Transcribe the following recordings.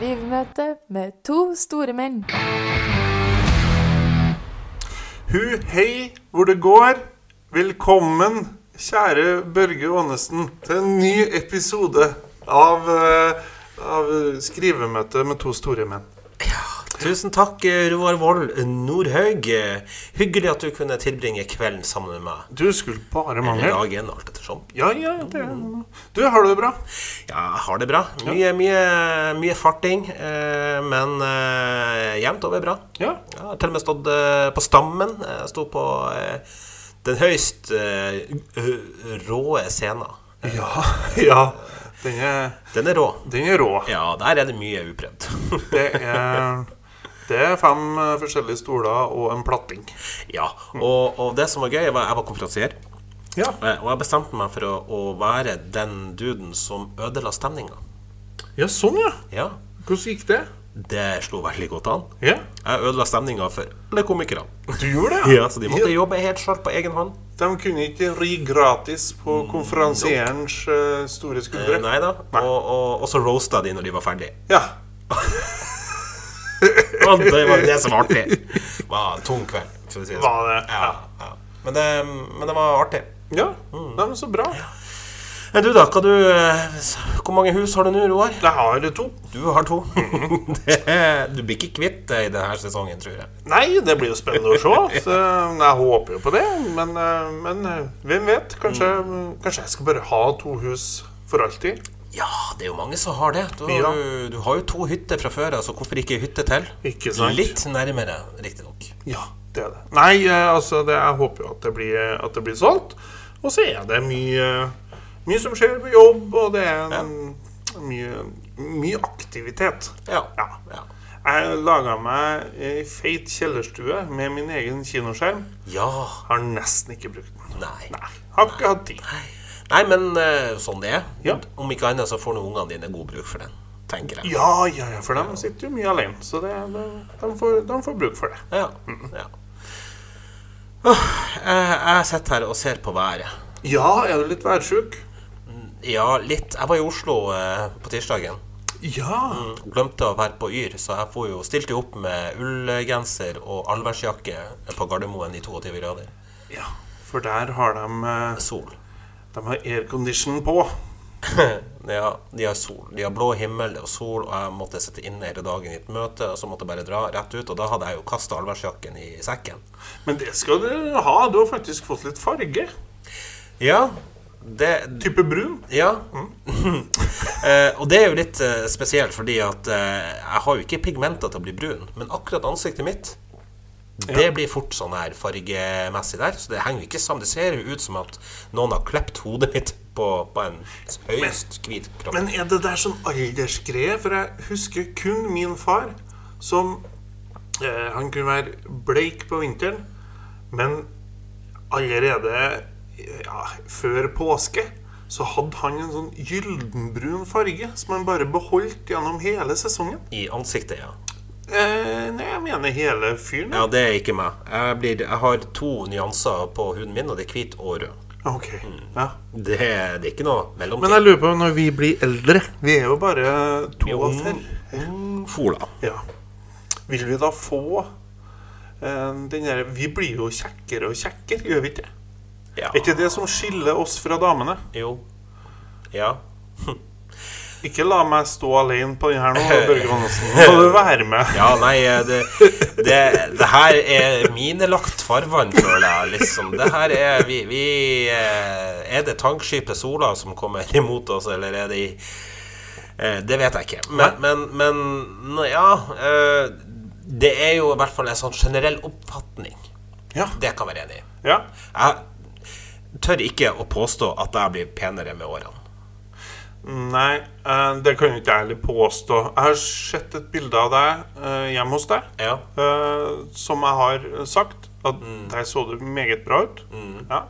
møte med to store menn. Hu hei hvor det går. Velkommen, kjære Børge Aanesen, til en ny episode av, eh, av Skrivemøte med to store menn. Tusen takk, eh, Roar Wold Nordhaug. Hyggelig at du kunne tilbringe kvelden sammen med meg. Du skulle bare Eller mangle. dagen, alt ettersom. Ja, ja, det er noe. Du, har du det bra? Ja, jeg har det bra. Mye, mye, mye farting, eh, men eh, jevnt over bra. Ja. Jeg har til og med stått eh, på Stammen. Jeg sto på eh, den høyst eh, ø- råe scenen. Ja. ja. Den er, Den er rå. den er rå. Ja, der er det mye uprøvd. Det er, det er fem eh, forskjellige stoler og en platting. ja, og, og det som var gøy, var jeg var konferansier. Ja. eh, Og jeg bestemte meg for å, å være den duden som ødela stemninga. ja, sånn, ja. Ja, Hvordan gikk det? det slo veldig godt an. Ja. Jeg ødela stemninga for alle komikerne. Du gjorde det? Ja, så de måtte jobbe helt sjøl på egen hånd. De kunne ikke ri gratis på konferansierens Mm. eh, store Eh, skuldre. Nei da. Og, og, og så roasta de når de var ferdige. Ja. Og det var det som var artig. Det var en tung kveld, for å si det Var det? Ja, ja. Men, det, men det var artig. ja. Nei, men så bra. Eh, Du, da? Hva du, eh, s- hvor mange hus har du nå, Roar? Jeg har to. Du har to. Det, du blir ikke kvitt det i denne sesongen, tror jeg. Nei, det blir jo spennende å se. Så eh, jeg håper jo på det. Men, eh, men eh, hvem vet? Kanskje, kanskje jeg skal bare ha to hus for alltid? Ja, det er jo mange som har det. Du, har Ja. jo- du har jo to hytter fra før, altså hvorfor ikke ei hytte til? Ikke sant? Litt nærmere, riktignok. Ja, det er det. Nei, eh, altså det, jeg håper jo at det blir, at det blir solgt. Og så er det mye, mye som skjer på jobb, og det er en, mye, mye aktivitet. Ja. Ja. Ja. Jeg laga meg ei feit kjellerstue med min egen kinoskjerm. ja. Har nesten ikke brukt den. Nei. Nei, Har ikke hatt tid. Nei, men eh, sånn det er. Ja. Om ikke annet så får nå ungene dine god bruk for den, tenker jeg. Ja, ja, ja, for de sitter jo mye alene, så det, det, de, får, de får bruk for det. Ja. ja. Åh, eh, jeg sitter her og ser på været. Ja, er du litt værsjuk? Ja, litt. Jeg var i Oslo eh, på tirsdagen. Ja. Glemte å være på Yr, så jeg får jo, stilte jo opp med ullgenser og allværsjakke på Gardermoen i 22 grader. ja. For der har de, eh, Sol. de har aircondition på. ja, de har sol. De har blå himmel og sol, og jeg måtte sitte inne hele dagen i et møte, og så måtte jeg bare dra rett ut, og da hadde jeg jo kasta allværsjakken i sekken. Men det skal du ha. Du har faktisk fått litt farge. Ja, det Type brun. Ja. Eh, og det er jo litt eh, spesielt, fordi at eh, jeg har jo ikke pigmenter til å bli brun, men akkurat ansiktet mitt det blir fort sånn her fargemessig der, så det henger jo ikke sammen. Det ser jo ut som at noen har klept hodet mitt på, på en høyst hvit kropp. Men er det der sånn aldersgreie? For jeg husker kun min far som eh, Han kunne være bleik på vinteren, men allerede ja, før påske så hadde han en sånn gyldenbrun farge som han bare beholdt gjennom hele sesongen. I ansiktet, ja. Eh, nei, jeg mener hele fyren. Ja, det er ikke meg. Jeg, blir, jeg har to nyanser på huden min, og det er hvit og rød. Ok, ja. Mm. Det, det er ikke noe mellomting. Men jeg lurer på når vi blir eldre Vi er jo bare to og fem. Fola. Ja. Vil vi da få eh, den der Vi blir jo kjekkere og kjekkere, gjør vi ikke det? Ja. Er ikke det som skiller oss fra damene? Jo. Ja. Ikke la meg stå alene på den her nå, Børge Vanesen. Nå må du være med. Ja, nei, eh, det, det, det her er minelagt farvann, føler jeg. Liksom. Det her er vi, vi eh, Er det tankskipet Sola som kommer imot oss, eller er det i eh, Det vet jeg ikke. Men, men, men nå, ja eh, Det er jo i hvert fall en sånn generell oppfatning. Ja. Det kan være enig i. ja. Jeg tør ikke å påstå at jeg blir penere med årene. Nei, eh, det kan jo ikke jeg heller påstå. Jeg har sett et bilde av deg eh, hjemme hos deg, Ja. Mm. eh, som jeg har sagt at der så du meget bra ut. Ja.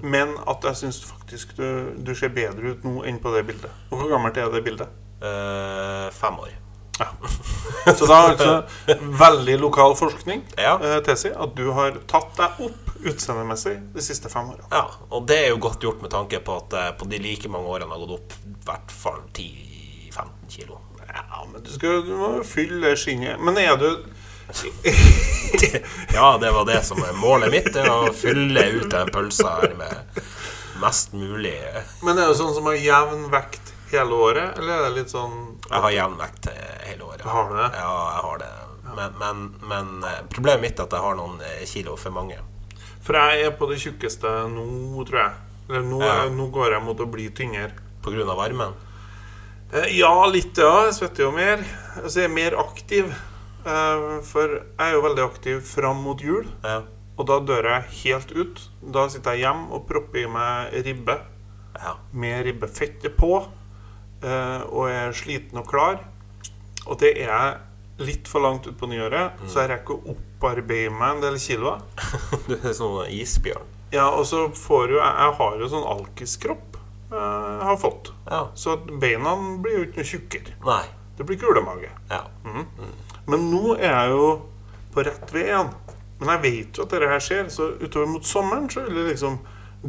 Men at jeg syns faktisk du, du ser bedre ut nå enn på det bildet. Og Hvor gammelt er det bildet? Eh, fem år. Ja. Så da er altså veldig lokal forskning Ja. eh, tilsier at du har tatt deg opp utseendemessig de siste fem årene. Ja, og det er jo godt eh, gjort med tanke på at jeg på de like mange årene har gått opp i hvert fall 10-15 kilo. Ja, men du, skal, du må jo fylle det skinnet. Men er du Ja, det var det som er målet mitt, det er å fylle ut den pølsa her med mest mulig Jeg Men er det sånn som har jevn vekt hele året, eller er det litt sånn har jevnvekt eh, hele året. Har du det? Ja, jeg har det. Men, men, men eh, problemet mitt er at jeg har noen eh, kilo for mange. For jeg er på det tjukkeste nå, tror jeg. Eller nå, Ja. er- nå går jeg mot å bli tynnere. På grunn av varmen. Eh, Ja, litt, ja. Jeg svetter jo mer. Altså, jeg er mer aktiv. Eh, For jeg er jo veldig aktiv fram mot jul, Ja. og da dør jeg helt ut. Da sitter jeg hjemme og propper i meg ribbe ja. med ribbefettet på, eh, og jeg er sliten og klar. Og det er jeg litt for langt utpå nyåret, så jeg rekker å opparbeide meg en del kiloer. Du er sånn isbjørn. Ja, og så får jo Jeg, jeg har jo sånn alkiskropp. eh, Jeg har fått. Ja. Så at beina blir jo ikke noe tjukkere. Nei. Det blir kulemage. Ja. Mm. Men nå er jeg jo på rett vei igjen. Men jeg vet jo at dette her skjer, så utover mot sommeren så vil det liksom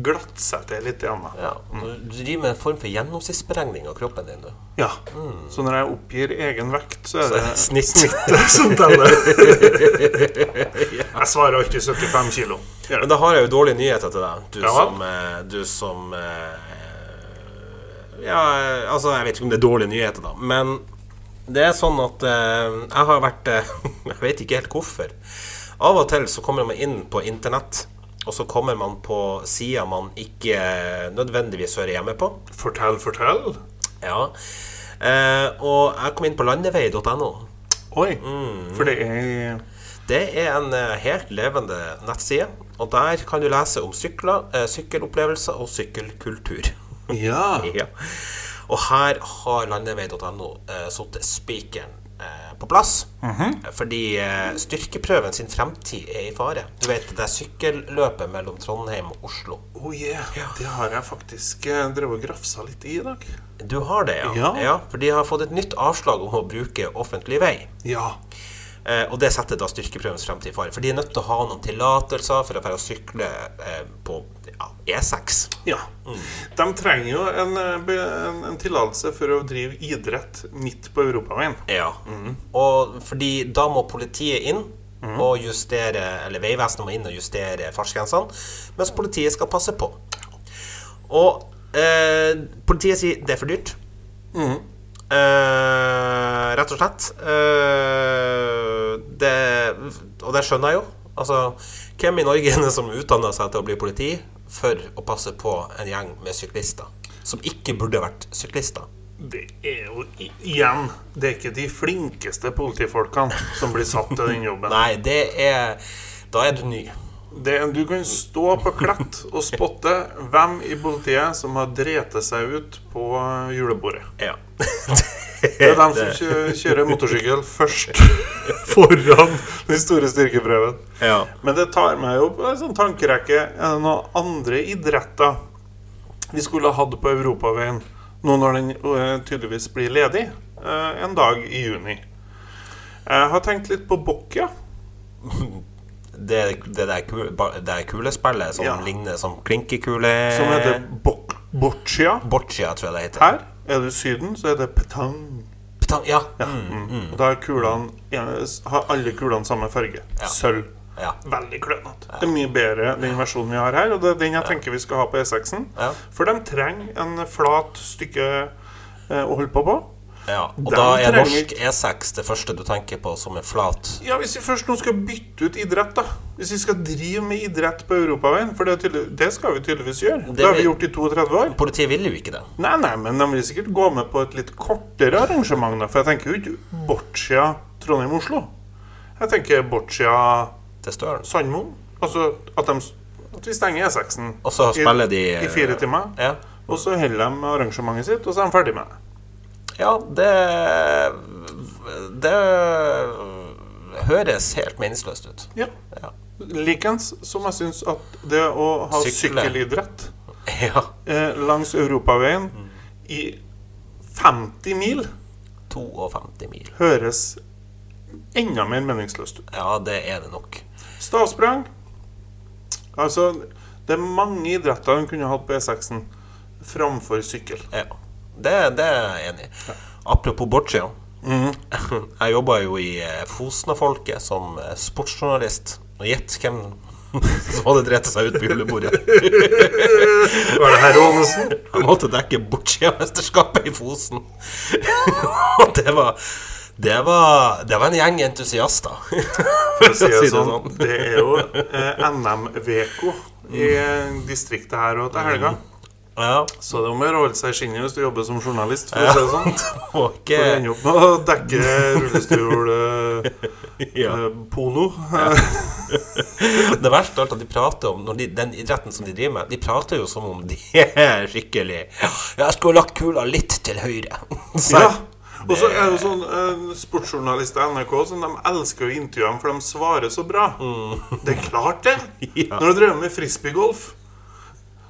glatte seg til litt igjen. da. ja. Du du driver med en form for gjennomsnittsberegning av kroppen din, du. Ja. Mm. Så når jeg oppgir egen vekt, så er det Eh, Snitt. snittet som teller. Jeg svarer alltid 75 kilo. Ja. Men da har jeg jo dårlige nyheter til deg. Du Ja vel. som, eh, du som eh, Ja, eh, altså, jeg vet ikke om det er dårlige nyheter, da. Men det er sånn at eh, jeg har vært eh, Jeg vet ikke helt hvorfor. Av og til så kommer man inn på internett, og så kommer man på sider man ikke nødvendigvis hører hjemme på. Fortell, fortell. Ja. Eh, og jeg kom inn på landevei.no. Oi. Mm. For det er Det er en eh, helt levende nettside, og der kan du lese om sykler, eh, sykkelopplevelser og sykkelkultur. Ja. ja. Og her har landevei.no eh, satt spikeren eh, på plass, fordi eh, styrkeprøven sin fremtid er i fare. Du vet, det er sykkelløpet mellom Trondheim og Oslo. Oh yeah. Det har jeg faktisk eh, drevet og grafsa litt i i dag. Du har det, ja. Ja. ja? For de har fått et nytt avslag om å bruke offentlig vei. Ja. Eh, og det setter da styrkeprøvens fremtid i fare. For de er nødt til å ha noen tillatelser for å være å sykle eh, på ja, E E6. Ja. De trenger jo en, eh, be- en, en tillatelse for å drive idrett midt på europaveien. Ja. Mhm. Og fordi da må politiet inn og justere Eller Vegvesenet må inn og justere fartsgrensene, mens politiet skal passe på. Og eh, politiet sier det er for dyrt. Eh, rett og slett. Eh, det, og det skjønner jeg jo. Altså, hvem i Norge er det som utdanner seg til å bli politi for å passe på en gjeng med syklister som ikke burde vært syklister? Det er jo i- igjen Det er ikke de flinkeste politifolkene som blir satt til den jobben. Nei, det er Da er du ny. Det, er- du kan stå på klett og spotte hvem i politiet som har drete seg ut på eh, julebordet. Ja. Det Eh, er dem som kjø- kjører motorsykkel først foran den store styrkeprøven. ja. Men det tar meg jo på en sånn tankerekke. Er det noen andre idretter vi skulle ha hatt på europaveien nå når den øh, tydeligvis blir ledig øh, en dag i juni? Jeg har tenkt litt på boccia. Det, det der, ku- ba- det der kulespillet som Ja. ligner som klinkekule Som Eh. heter boc boccia. Boccia, tror jeg det heter. Her er du i Syden, så heter det petang. Petang, ja. Mm, Ja. Mm. Og Da er kulene, ja, har alle kulene samme farge. Sølv. ja. Veldig klønete. Det er mye bedre den versjonen vi har her, og det er den jeg tenker vi skal ha på E6-en. Ja. For de trenger en flat stykke eh, å holde på på. ja. Og Den da er trenger- norsk E6 det første du tenker på som en flat Ja, Hvis vi først nå skal bytte ut idrett, da. Hvis vi skal drive med idrett på europaveien, for det, er tydelig, det skal vi tydeligvis gjøre. Det, Det har vi vil- gjort i 32 år. Politiet vil jo ikke det. Nei, nei, men de vil sikkert gå med på et litt kortere arrangement, da. For jeg tenker jo ikke Boccia Trondheim-Oslo. Jeg tenker Boccia Det står den. Sandmoen. Altså at, de, at vi stenger E6-en Og så spiller de eh, i fire timer. Ja. Og så holder de arrangementet sitt, og så er de ferdig med det. ja, det Det høres helt meningsløst ut. Ja. Ja. Likens som jeg syns at det å ha Sykle. sykkelidrett ja. eh, langs europaveien i 50 mil 52 mil. høres enda mer meningsløst ut. Ja, det er det nok. Stavsprang Altså, det er mange idretter hun kunne hatt på E6-en framfor sykkel. Ja, det, det er jeg enig i. Apropos Boccia. Mhm. Jeg jobba jo i eh, Fosna-folket som eh, sportsjournalist. Og gjett hvem som hadde drept seg ut på julebordet. Var det herr Aanesen? Jeg måtte dekke Boccia-mesterskapet i Fosen. Og det var det var, det var en gjeng entusiaster. For å si det Si det sånn. sånn. Det er jo eh, NM-veko i distriktet her og til helga. Ja. Så det er om å gjøre å holde seg i skinnet hvis du jobber som journalist, for å si det sånn. Og For å ikke ende opp med å dekke eh, rullestolpolo. ja. eh, Det verste er alt at de prater om når de, den idretten som de driver med, de prater jo som om de er skikkelig Ja, jeg skulle lagt kula litt til høyre. Så, Ja. Og så er det jo sånn eh, sportsjournalister i NRK som de elsker å intervjue dem, for de svarer så bra. Det er klart, det. Mm. Ja. Når du driver med frisbeegolf,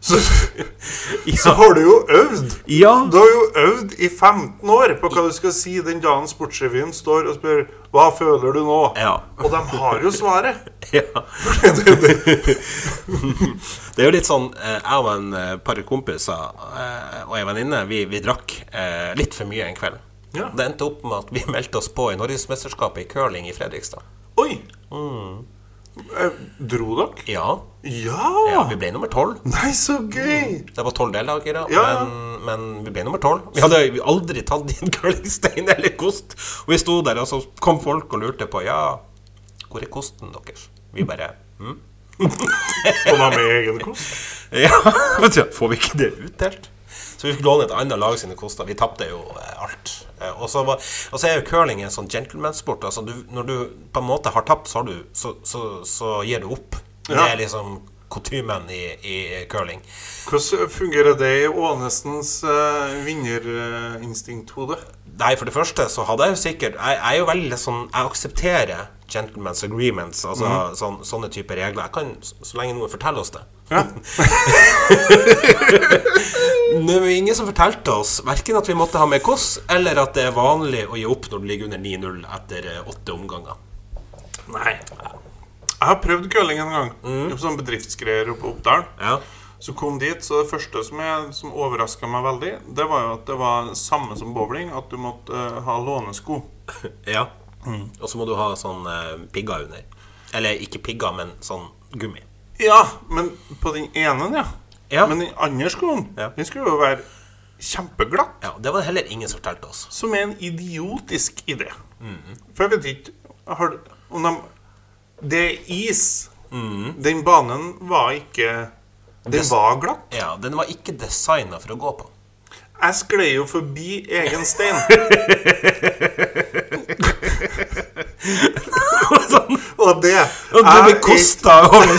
så, så ja. har du jo øvd. Ja. Du har jo øvd i 15 år på hva du skal si den dagen Sportsrevyen står og spør 'Hva føler du nå?' Ja. Og de har jo svaret. ja. Det er jo litt sånn eh, Jeg og en eh, par kompiser eh, og ei venninne, vi, vi drakk eh, litt for mye en kveld. Ja. Det endte opp med at vi meldte oss på i Norgesmesterskapet i curling i Fredrikstad. Oi! Eh, Dro dere? Ja, ja Ja! vi ble nummer tolv. Nei, så gøy! Det var tolv deltakere, Ja, ja. men, men vi ble nummer tolv. Vi hadde jo aldri tatt inn curlingstein eller kost. Og vi sto der, og så kom folk og lurte på Ja, hvor er kosten deres? Vi bare hm? Og var med i egen kost. Ja, vet du, får vi ikke det utdelt? Så vi fikk låne et annet lag sine koster. Vi tapte jo eh, alt. Eh, Og så, var, og så er jo curling en sånn gentlemansport. Altså du, når du på en måte har tapt, så, har du, så, så, så gir du opp. Det Ja. er liksom kutymen i, i curling. Hvordan fungerer det i Ånesens uh, vinnerinstinkthode? Nei, for det første så hadde jeg jo sikkert Jeg, jeg er jo veldig sånn Jeg aksepterer gentlemen's agreements, altså sånn, sånne typer regler. Jeg kan, så- så lenge noen forteller oss det. Det var ingen som fortalte oss verken at vi måtte ha med koss, eller at det er vanlig å gi opp når du ligger under 9-0 etter eh, åtte omganger. Nei. Jeg har prøvd curling en gang, mm. som bedriftsgreier oppe på Oppdal. Ja. Så kom dit, så det første som, jeg- som overraska meg veldig, det var jo at det var samme som bowling, at du måtte eh, ha lånesko. ja. Og så må du ha sånn eh, pigger under. Eller ikke pigger, men sånn gummi. Ja, men på den ene, ja. Ja. Men den andre skoen, Ja. den skulle jo være kjempeglatt. Ja, Det var det heller ingen som fortalte oss. Som er en idiotisk idé. For jeg vet ikke har, om de, Det er is. Den banen var ikke Den Det- var glatt. Ja, Den var ikke designa for å gå på. Jeg sklei jo forbi egen stein. sånn, Og det og det Jeg ble kosta over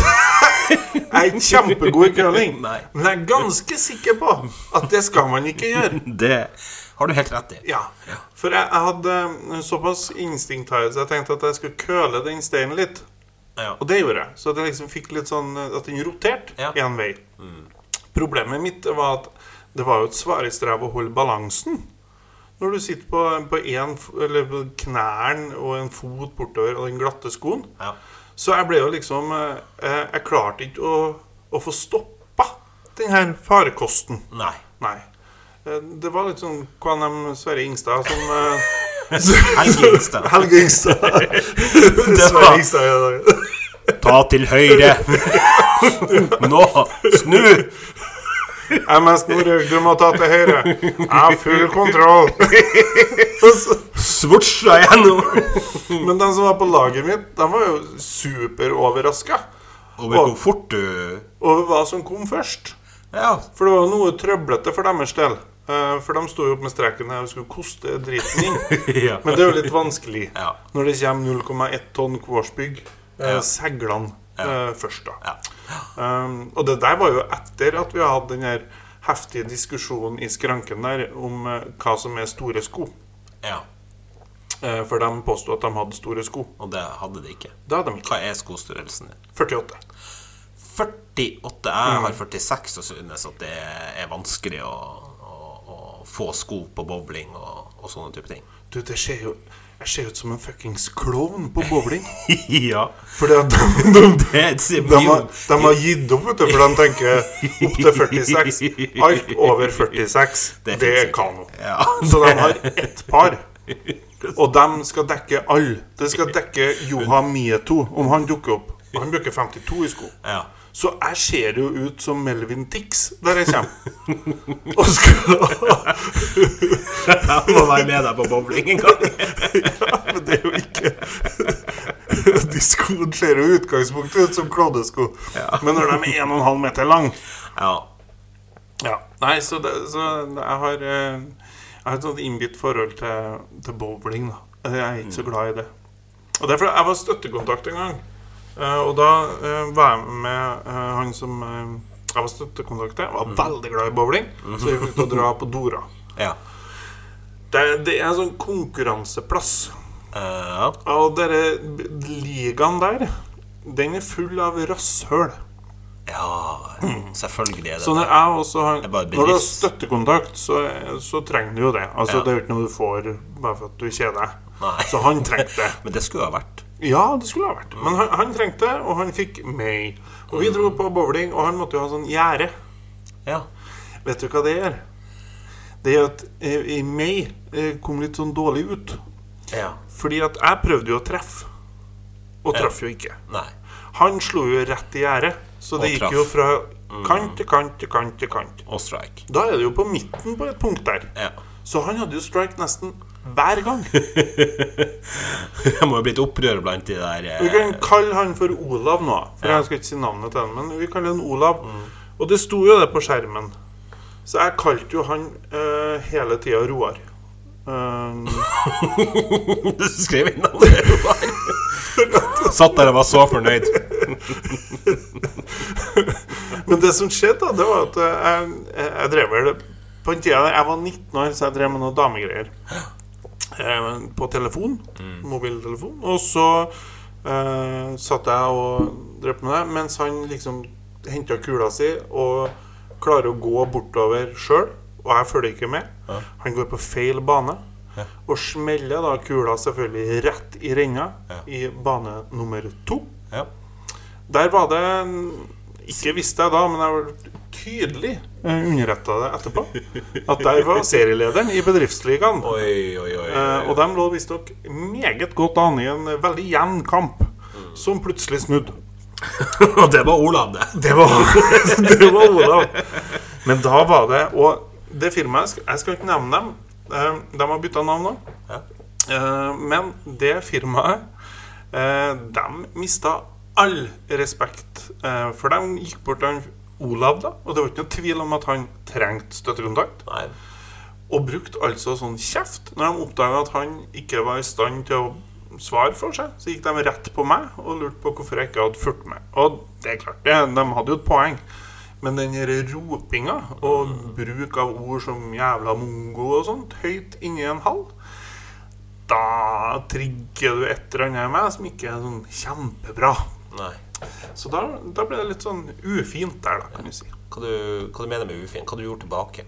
Jeg er kjempegod i curling, Nei. men jeg er ganske sikker på at det skal man ikke gjøre. Det har du helt rett i. Ja, For jeg, jeg hadde eh, såpass instinkt her, så jeg tenkte at jeg skulle køle den steinen litt. Ja. Og det gjorde jeg. Så at jeg liksom fikk litt sånn eh, at den roterte Ja. én vei. Problemet mitt var at det var jo et svarestrev å holde balansen. Når du sitter på, på, en, f- eller på knærne og en fot bortover og den glatte skoen. Ja. Så jeg ble jo liksom eh, eh, Jeg klarte ikke å, å få stoppa den her farekosten. Nei. Nei. Eh, Det var litt sånn hva de Sverre Ingstad som eh, Helge Ingstad. Helge Ingstad. Sverre var- Ingstad ja, da. Ta til høyre! Nå! Snu! MS Norhaug, du må ta til høyre. Jeg har full kontroll. Og så- Svursa gjennom! Men de som var på laget mitt, de var jo superoverraska Og vet du hvor fort du over hva som kom først. Ja. For det var noe trøblete for deres del. Eh, For de sto jo opp med streken her og skulle koste driten inn. ja. Men det er jo litt vanskelig Ja. når det kommer 0,1 tonn Kvorsbygg eh, Ja. seglene eh, først, da. Ja. Um, og det der var jo etter at vi har hatt den her heftige diskusjonen i skranken der om eh, hva som er store sko. ja. Eh, for de påsto at de hadde store sko. Og det hadde de ikke. Det hadde de ikke. Hva er skostørrelsen din? 48. 48. Jeg har 46 og synes at det er vanskelig å, å, å få sko på bowling og, og sånne type ting. Du, det ser jo Jeg ser ut som en fuckings klovn på bowling. ja. Fordi at de, de, Det er de, har, de har gitt opp, vet du, for de tenker opp til 46. Alt over 46, det, finnes er ikke. kano. Ja. Så de har ett par. Og de skal dekke alle. Det skal dekke Joha Mieto, om han dukker opp. Og Han bruker 52 i sko. Ja. Så jeg ser jo ut som Melvin Tix der jeg kommer. Og skal Jeg må være med deg på bowling en gang. Ja, men det er jo ikke De skoene ser jo i utgangspunktet ut som klovnesko. Ja. Men når de er 1,5 meter lang Ja. Ja. Nei, så, det, så jeg har eh, Jeg har et sånt innbitt forhold til, til bowling, da. Jeg er ikke så glad i det. Og det er fordi jeg var støttekontakt en gang. eh, og da eh, var jeg med eh, han som eh, jeg var støttekontakt til. Var veldig glad i bowling, så vi fikk til å dra på Dora. Ja. Det, det er en sånn konkurranseplass. Eh, ja. Ja, Og dere ligaen der, den er full av rasshøl. ja. Selvfølgelig Sånn er det Så når jeg også har er Når bare du har bevisst. støttekontakt, så, så trenger du jo det. Altså, Ja. Det er jo ikke noe du får bare for at du kjeder deg. Nei. Så han trengte det. Men det skulle ha vært. Ja, det skulle ha vært. Men han, han trengte det, og han fikk meg. Og vi dro på bowling, og han måtte jo ha sånn gjerde. Ja. Vet du hva det gjør? Det gjør at eh, meg eh, kom litt sånn dårlig ut. ja. Fordi at jeg prøvde jo å treffe, og traff jo ikke. Nei. Han slo jo rett i gjerdet, så det Og gikk traff. Mm. jo fra kant til kant til kant til kant. Og strike. Da er det jo på midten på et punkt der. Ja. Så han hadde jo strike nesten hver gang. Det må jo bli et opprør blant de der Vi eh, kan kalle han for Olav nå, for jeg skal ikke si navnet til han, men vi kaller han Olav. Og det sto jo det på skjermen. Så jeg kalte jo han eh, hele tida Roar. Eh, Du skrev inn navnet det var. Satt der og var så fornøyd. men det som skjedde, da, det var at eh, jeg, jeg, jeg drev vel På den tida jeg var 19 år, så jeg drev med noen damegreier. eh, på telefon, mobiltelefon. Og så eh, satt jeg og drev på med det, mens han liksom henta kula si og klarer å gå bortover sjøl, og jeg følger ikke med. Han går på feil bane. Og smeller da kula selvfølgelig rett i renna i bane nummer to. Ja. Der var det en- Ikke visste jeg da, men jeg var tydelig underretta det etterpå. At der var serielederen i bedriftsligaen. Oi, oi, oi. Eh, og de lå visstnok meget godt an i en veldig jevn kamp, som plutselig snudde. Og det var Olav, det. Det var, det var Olav. Men da var det Og det firmaet Jeg skal, jeg skal ikke nevne dem. Eh, De har bytta navn nå. Ja. Eh, Men det firmaet eh, De mista all respekt. eh, For de gikk bort til han Olav, da, og det var ikke noe tvil om at han trengte støttekontakt. Nei. Og brukte altså sånn kjeft når de oppdaga at han ikke var i stand til å svare for seg. Så gikk de rett på meg og lurte på hvorfor jeg ikke hadde fulgt med. Og det er klart, det, de hadde jo et poeng. Men den her ropinga og bruk av ord som jævla mongo og sånt høyt inni en hall Da trigger du et eller annet i meg som ikke er sånn kjempebra. Nei. Så da, da ble det litt sånn ufint der, da, kan du si. Hva, du, hva du mener med ufin? Hva du gjorde tilbake?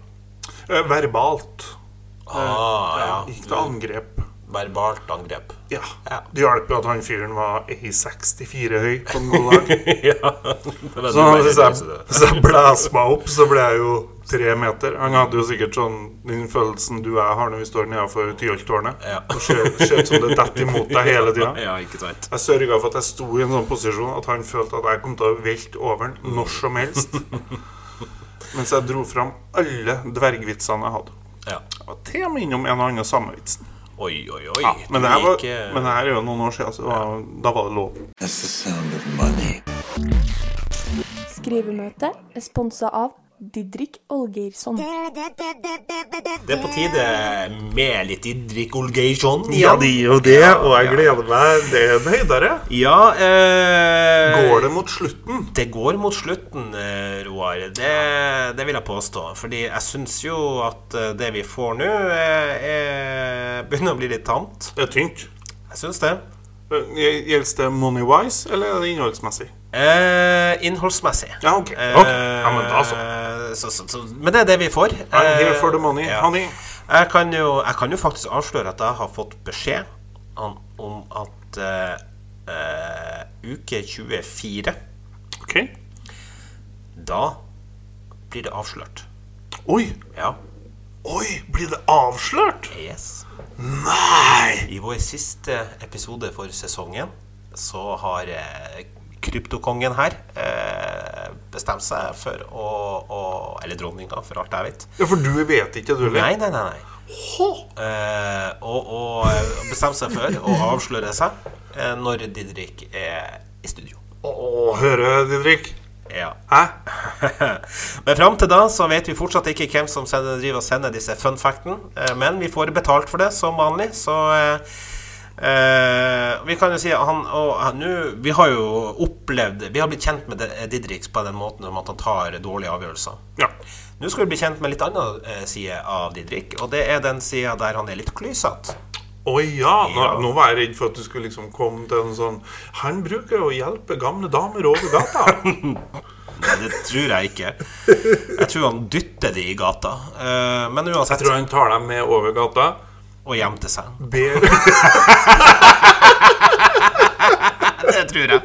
Eh, verbalt. Ah, ja. Gikk til angrep. Verbalt angrep. Ja. Ja. Det hjalp jo at han fyren var A64 høy på en god dag. ja. Så hvis jeg, hvis jeg blæser meg opp, så ble jeg jo tre meter. Han hadde jo sikkert sånn den følelsen du og jeg har når vi står nedenfor Tyholttårnet. Ja. Og ser ser ut som det detter imot deg hele tida. Ja, ikke sant. Jeg sørga for at jeg sto i en sånn posisjon at han følte at jeg kom til å velte over han når som helst. Mens jeg dro fram alle dvergvitsene jeg hadde. Ja. Jeg var til og med innom en og annen samevitsen. Oi, oi, oi. Ja, men, Du det her var, gikk, eh, men det her er jo noen år siden, så det var, da var det lov. That's the sound of money. Skrivemøte er sponsa av Didrik Olgeirsson. Det er på tide med litt Idrik Olgeisson. Ja, det er jo det, og jeg gleder meg. Det er en høydere. Ja, eh, Går det mot slutten? Det går mot slutten, eh, Roar. Det, det vil jeg påstå. Fordi jeg syns jo at eh, det vi får nå, eh, er- begynner å bli litt tamt. Det er tynt. Jeg syns det. Gjelder det money-wise, eller er det innholdsmessig? Eh, innholdsmessig. Ja, ok. Eh, Ok. Ja, men da så. så, så, så. Men det er det vi får. I'm here for the money, Eh, honey. Jeg kan, jo, jeg kan jo faktisk avsløre at jeg har fått beskjed om, om at eh, eh, uke 24 Ok. Da blir det avslørt. Oi, Ja. Oi, blir det avslørt? Yes. Nei! I vår siste episode for sesongen så har eh, kryptokongen her eh, bestemt seg for å, å Eller dronninga, for alt jeg vet. Ja, For du vet ikke, du heller? Nei, nei, nei. nei. Eh, og, og eh, bestemt seg for å avsløre seg eh, når Didrik er i studio. Å, høre, Didrik. Ja. Hæ? Men fram til da så vet vi fortsatt ikke hvem som sender, driver og sender disse fun facten. eh, Men vi får betalt for det, som vanlig, så eh, eh, Vi kan jo si at han og han- nå Vi har jo opplevd Vi har blitt kjent med det- Didriks på den måten om at han tar dårlige avgjørelser. Ja. Nå skal vi bli kjent med litt annen eh, side av Didrik, og det er den sida der han er litt klysete. Å ja, nå, Ja. nå var jeg redd for at du skulle liksom komme til en sånn Han bruker å hjelpe gamle damer over gata. Nei, Det tror jeg ikke. Jeg tror han dytter de i gata. Eh, Men uansett, Jeg tror han tar dem med over gata. og hjem til seg. Ber Det tror jeg.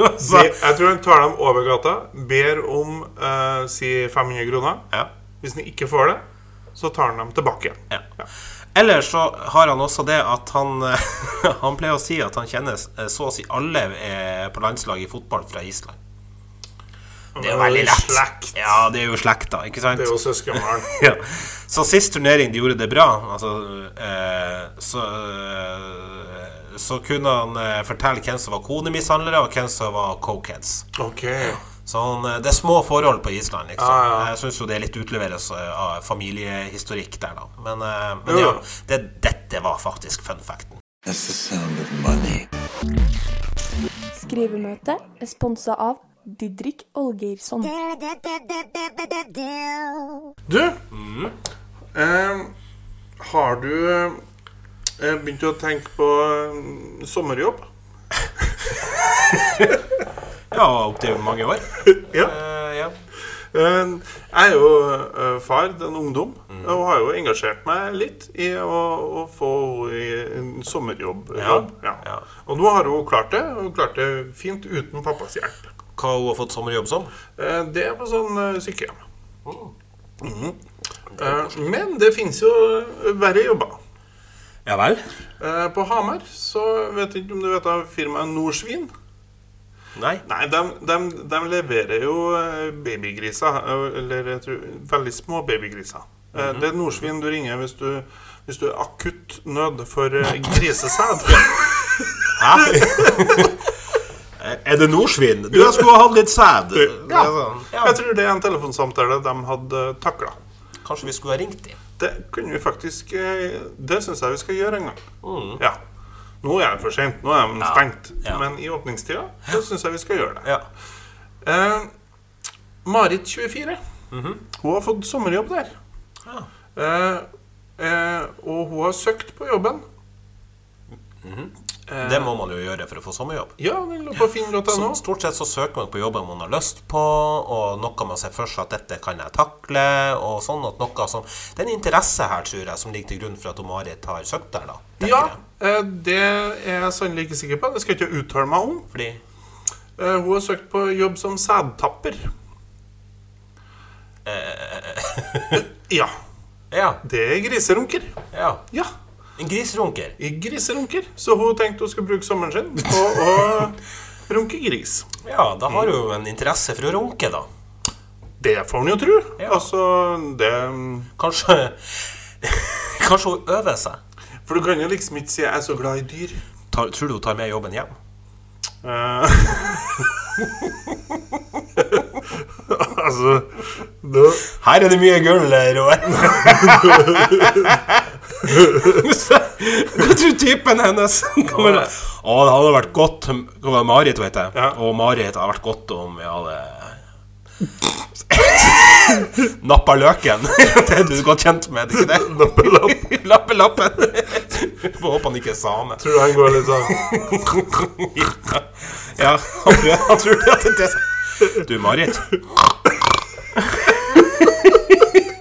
Be, jeg tror han tar dem over gata, ber om eh, si 500 kroner. Ja. Hvis han ikke får det, så tar han dem tilbake. igjen. Ja. Ellers så har han også det at han Han pleier å si at han kjenner eh, så å si alle eh, på landslaget i fotball fra Island. Det er jo veldig lett. Slekt. Ja, det er jo slekta, ikke sant? Det er jo søskenbarn. ja. Så sist turnering de gjorde det bra, altså, eh, så, eh, så kunne han eh, fortelle hvem som var konemishandlere, og hvem som var cokeheads. Ok. Sånn, eh, det er små forhold på Island, Ja, liksom. ja. Jeg syns jo det litt utleveres eh, av familiehistorikk der, da. Men, eh, Jo, men ja, jo. det, dette var faktisk fun facten. That's the sound of money. Skrivemøte er sponsa av Didrik Olgeirsson. Du, Mm. eh, har du eh, begynt å tenke på eh, sommerjobb? Ja, opptil mange år. Ja. Eh, ja. Eh, Jeg er jo eh, far til en ungdom og har jo engasjert meg litt i å, å få henne i en sommerjobb. Ja, jobb. Ja. ja. Og nå har hun klart det, og hun klart det fint uten pappas hjelp. Hva hun har fått sommerjobb som? Eh, Det er på sånn eh, sykehjem. Mhm. Eh, Men det fins jo eh, verre jobber. Ja vel? Eh, På Hamar så vet jeg ikke om du vet av firmaet Norsvin. Nei. Nei, de, leverer jo eh, babygriser. eh, Eller jeg tror, veldig små babygriser. Eh, Mhm. Det er Norsvin du ringer hvis du, hvis du er akutt nød for eh, grisesæd. Er det nordsvin? Du jeg skulle ha hatt litt sæd. sånn. Ja. Ja. Jeg tror det er en telefonsamtale de hadde takla. Kanskje vi skulle ha ringt dem? Det kunne vi faktisk eh, Det syns jeg vi skal gjøre en gang. Ja. Nå er det for sent. Nå er de Mhm. Ja. stengt. Ja. Men i åpningstida så syns jeg vi skal gjøre det. Ja. Eh, Marit 24 Hun har fått sommerjobb der Ja. eh, eh, Og hun har søkt på jobben Det må man jo gjøre for å få sommerjobb. Ja, sånn den lå på finn.no Eh. Så stort sett så søker man på jobber man har lyst på, og noe man ser for seg at dette kan jeg takle, og sånn at noe som Det er en interesse her, tror jeg, som ligger til grunn for at hun Marit har søkt der, da. tenker Ja, jeg. eh, det er jeg sannelig ikke sikker på Det skal jeg ikke uttale meg om Fordi eh, Hun har søkt på jobb som sædtapper Ja, Ja. det er griserunker ja. Ja, En grisrunker. i griserunker Så hun tenkte hun skulle bruke sommeren sin På å runke gris Ja, da har hun jo en interesse for å runke, da. Det får hun jo tro Ja. Altså, det... Kanskje Kanskje hun øver seg. For du kan jo liksom ikke si 'jeg er så glad i dyr'. Tar, tror du hun tar med jobben hjem? Eh, altså nå, Her er det mye gull, eh, Roar. Hva tror typen hennes kommer Å, det hadde vært godt Hva var det, Marit, vet jeg. Ja. Og Marit hadde vært godt om vi hadde Nappa løken. det er du godt kjent med, er det ikke det? Lappelappen. Får håpe han ikke er same. Tror du han går litt sånn ja, han tror, han tror at det er det. Du, Marit.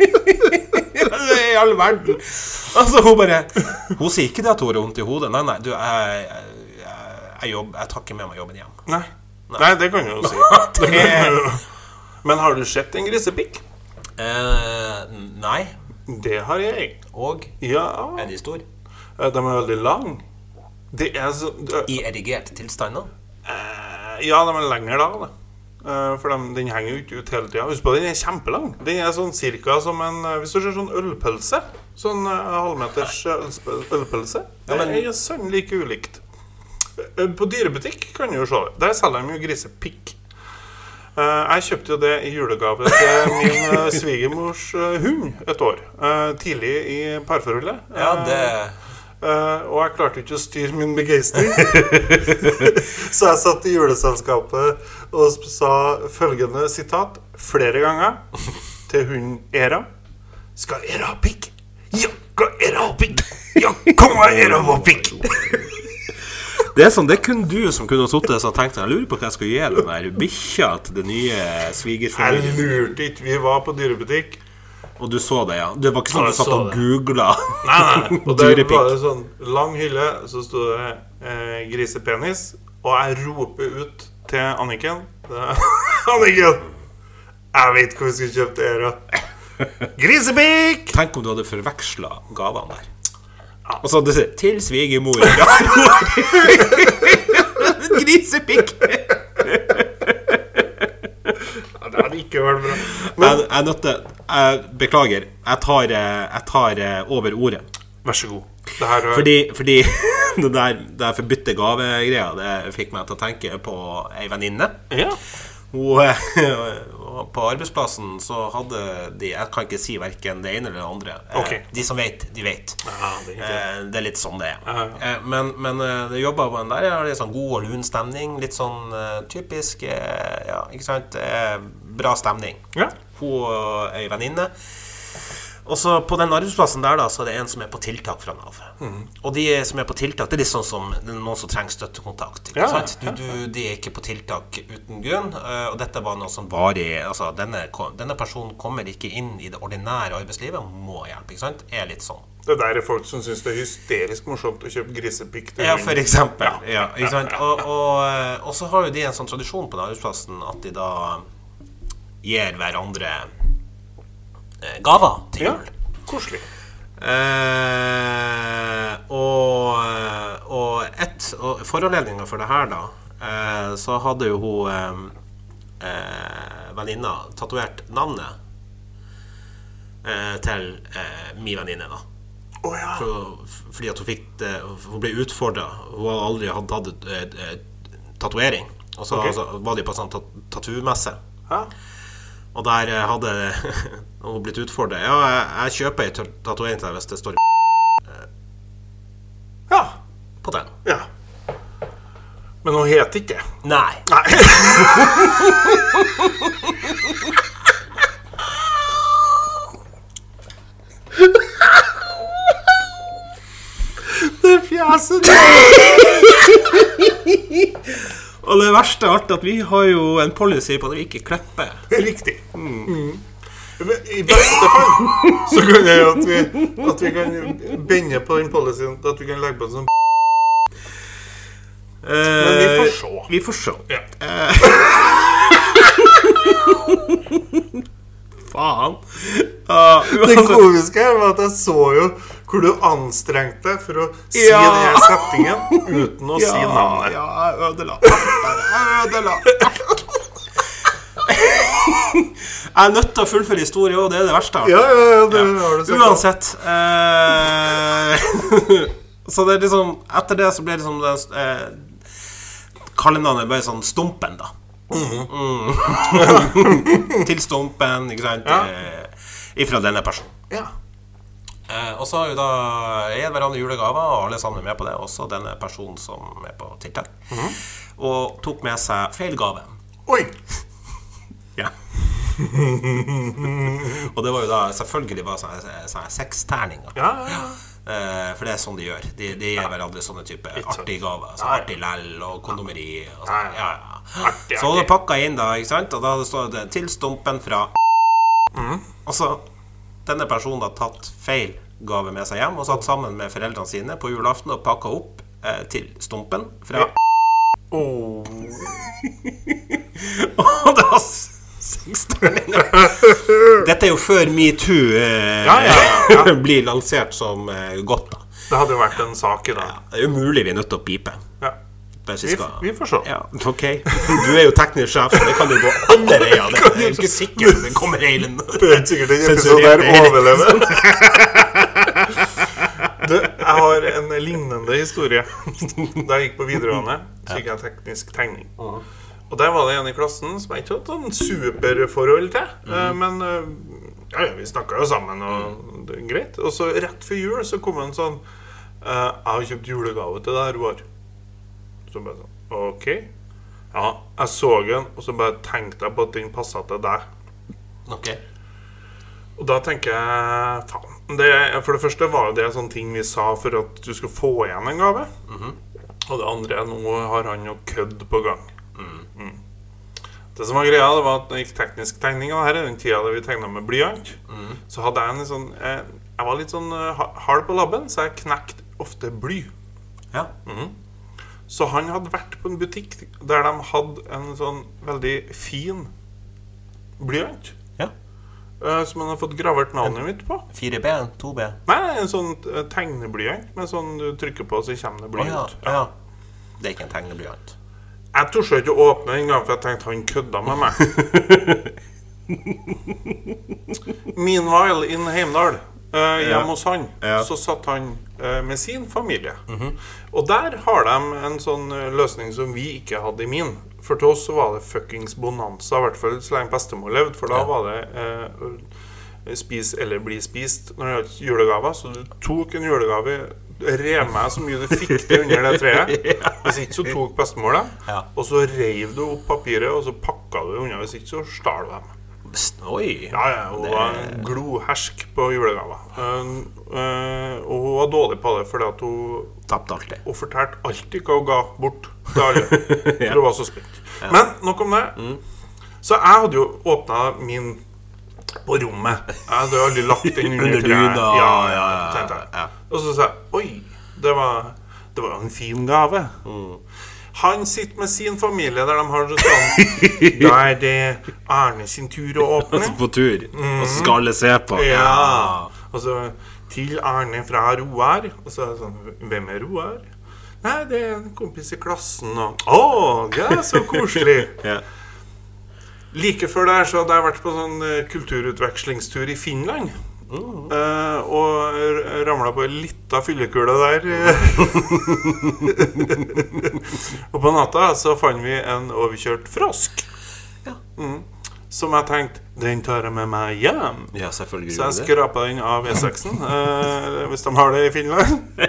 Det er I all verden. Altså, hun bare Hun sier ikke det at hun har vondt i hodet. Nei, nei, du, jeg, jeg, jeg, jobb, jeg tar ikke med meg jobben hjem. Nei. Nei, det kan du jo si. Det- Men har du sett en grisepikk? Eh, Nei. Det har jeg. Og Ja, er de store? eh, de er veldig lang. Det er så det- I erigert tilstand, da? eh, Ja, de er lenger da. da. Eh, For de, den henger jo ikke ut hele tida. Husk på, den er kjempelang. Den er sånn cirka som en eh, Hvis du ser sånn ølpølse. Sånn eh, halvmeters eh, ølsp- ølpølse. Ja, Det men- er sannelig ikke ulikt. Eh, På dyrebutikk kan du jo se det. Der selger de jo grisepikk. Eh, Jeg kjøpte jo det i julegave til min eh, svigermors eh, hund et år. eh, Tidlig i parforholdet. Ja, Eh, det Eh, og jeg klarte jo ikke å styre min begeistring. så jeg satt i juleselskapet og sp- sa følgende sitat flere ganger til hunden Era. Skal Era ha pikk? Ja, skal Era ha pikk? Ja, kom her, Era ha pikk! Det er sånn, det er kun du som kunne ha sittet og tenkt Jeg lurer på hva jeg skal gi den der bikkja til det nye Jeg svigerfamilien. lurte ikke. Vi var på dyrebutikk. Og du så det, ja? Det var ikke sånn Ja, du jeg satt så og det. googla Og der dyrepikk? var det sånn lang hylle, så sto det eh, grisepenis, og jeg roper ut til Anniken det- Anniken! Jeg vet hvor vi skulle kjøpt det her, da. Grisepikk! Tenk om du hadde forveksla gavene der. Altså, Og så hadde du sagt 'til svigermor'. Ja, Grisepikk! Ja, det hadde ikke vært bra. Jeg, jeg nødte jeg, Beklager. Jeg tar, eh, jeg tar eh, over ordet. Vær så god. Det her var Fordi, fordi det der, det der forbudte gavegreia Det fikk meg til å tenke på ei venninne. ja. Hun, eh, og På arbeidsplassen så hadde de Jeg kan ikke si verken det ene eller det andre. Eh, Ok. De som vet, de vet. Ja, det er Eh, det er litt sånn det er. Ja, ja. Eh, Men, men eh, det jobba på en der. ja, Litt sånn god og lun stemning. Litt sånn eh, typisk eh, Ja, ikke sant? Eh, Bra stemning. Ja. Hun og ei venninne. Og så på den arbeidsplassen der, da, så er det en som er på tiltak fra Nav. Og de som er på tiltak, det er litt sånn som det er noen som trenger støttekontakt. Ikke Ja, sant? Du, du, de er ikke på tiltak uten grunn, eh, og dette var noe som varig Altså, denne, ko- denne personen kommer ikke inn i det ordinære arbeidslivet, må hjelpe, ikke sant? Er litt sånn. Det der er folk som syns det er hysterisk morsomt å kjøpe grisepikk til Ja, hund. for eksempel. Ja, ikke sant? Og, og, eh, og så har jo de en sånn tradisjon på den arbeidsplassen at de da gir hverandre eh, gaver til Ja, jul. koselig. Eh, og og, et, og foranledninga for det her, da, eh, så hadde jo hun eh, eh, venninna tatovert navnet eh, til eh, mi venninne, da. Å ja. For, fordi at hun fikk det Hun ble utfordra. Hun hadde aldri hatt tatt eh, eh, tatovering. Og så Ok. altså, var de på en sånn tat- tattoo-messe. ja. Og der eh, hadde hun blitt utfordra. Ja, jeg, jeg kjøper ei tat- tatovering til deg hvis det står Ja. på den. ja. Men hun heter ikke det. Nei. Nei. Det fjeset Og det verste av alt er at vi har jo en policy på at vi ikke klipper. Riktig. Mm. Men I beste fall så kan jeg jo at vi, at vi kan binde på den policyen at vi kan legge på en sånn Men vi får se. Eh, Vi får se. Ja. Faen. Ja, Det uansett. komiske her var at jeg så jo hvor du anstrengte deg for å si Ja. denne setningen uten å si navnet. Ja, jeg ødela alt. Jeg ødela alt. Jeg er nødt til å fullføre historien òg, det er det verste. Ja, ja, ja, det har du sagt. Uansett eh, Så det er liksom Etter det så ble det liksom det, eh, Kallenavnet ble sånn Stumpen, da. Mhm. Mm. Til Stumpen, ikke sant? Ja. Eh, ifra denne personen. Ja. Eh, og så har jo da gitt hverandre julegaver, og alle sammen er med på det, også denne personen som er på tiltak. Og tok med seg feil gave. Oi! Ja. og det sånn var jo da selvfølgelig bare sånne, sånne seksterninger. Ja, ja, ja. Eh, for det er sånn de gjør. De, de gir hverandre sånne type Litt sånn. artige gaver. Så Ja, ja. artig lell og kondomeri og Ja, sånn. ja. Ja, ja. Artig, Så hadde artig. du pakka inn, da, ikke sant? og da står det 'til stumpen fra' Mm. Og så Denne personen har tatt feil gave med seg hjem og satt sammen med foreldrene sine på julaften og pakka opp eh, til stumpen fra Oh. Og da s- Seksterninger. Dette er jo før metoo eh, Ja, ja, blir lansert som eh, godt. da Det hadde jo vært en sak i dag. Det er jo mulig vi er nødt til å pipe. Ja. Hvis Vi, f- vi får se. Ja, ok. Du er jo teknisk sjef, så det kan jo gå andre veier. Det er jo ikke sikkert om det kommer hele Det er sikkert den episoden Sensurert her det. overlever. Du, jeg har en lignende historie. Da jeg gikk på videregående, så gikk jeg teknisk tegning. Og der var det en i klassen som jeg ikke hadde sånn superforhold til. eh, Men eh, ja, ja, vi snakka jo sammen, og det er greit. Og så rett før jul så kom han sånn eh, 'Jeg har kjøpt julegave til deg, Roar.' Så bare sånn OK. Ja, jeg så den, og så bare tenkte jeg på at den passa til deg. Ok. Og da tenker jeg faen. Det, for det første var jo det sånne ting vi sa for at du skulle få igjen en gave. Og det andre er nå har han jo kødd på gang. Mm. Det som var greia, det var at når jeg gikk teknisk tegning, og her er den tida da vi tegna med blyant, så hadde jeg en litt sånn eh, Jeg var litt sånn eh, ha- hard på labben, så jeg knekte ofte bly. Ja. Så han hadde vært på en butikk der de hadde en sånn veldig fin blyant. ja. eh, Som han hadde fått gravert navnet mitt på. 4B, 2B. Nei, det er en sånn eh, tegneblyant med sånn du trykker på, så kommer det Å ja. blyant. ja. Det er ikke en tegneblyant. Jeg torde ikke å åpne den gang, for jeg tenkte han kødda med meg. Meanwhile in Heimdal, eh, Ja. hjemme hos han, Ja. Mhm. så satt han eh, med sin familie. Og der har de en sånn eh, løsning som vi ikke hadde i min. For til oss så var det fuckings bonanza, i hvert fall så lenge bestemor levde. For da Ja. var det eh, spis eller bli spist når det gjaldt julegaver. Så du tok en julegave, rev meg så mye du fikk til under det treet. Hvis ikke så tok bestemor dem, Ja. og så reiv du opp papiret, og så pakka du det unna. Hvis ikke så stal du dem. Pst, Oi! Ja, ja, hun var en glohersk på julegaver. Eh, eh, og hun var dårlig på det fordi at hun, Tapte alltid. hun fortalte alltid hva hun ga bort til alle. For hun var så spent. Men nok om det. Mm. Så jeg hadde jo åpna min på rommet. Jeg hadde jo aldri lagt den Under under treet. dyna, Ja, ja, ja, tenkte jeg. ja. Og så sa jeg Oi, det var, det var jo en fin gave. Mm. Han sitter med sin familie der de har sånn Da er det Arne sin tur å åpne. På tur. Og så skal alle se på. Mm. Ja. Og så til Arne fra Roar. Og så er det sånn Hvem er Roar? Nei, det er en kompis i klassen, og Å, ja, så koselig! Ja. Like før der så hadde jeg vært på sånn eh, kulturutvekslingstur i Finland. Eh, og ramla på ei lita fyllekule der. og på natta så fant vi en overkjørt frosk. Ja. Mm. Som jeg tenkte Den tar jeg med meg hjem. Ja, selvfølgelig Så jeg gjorde det. skrapa den av V6-en, eh, hvis de har det i Finland.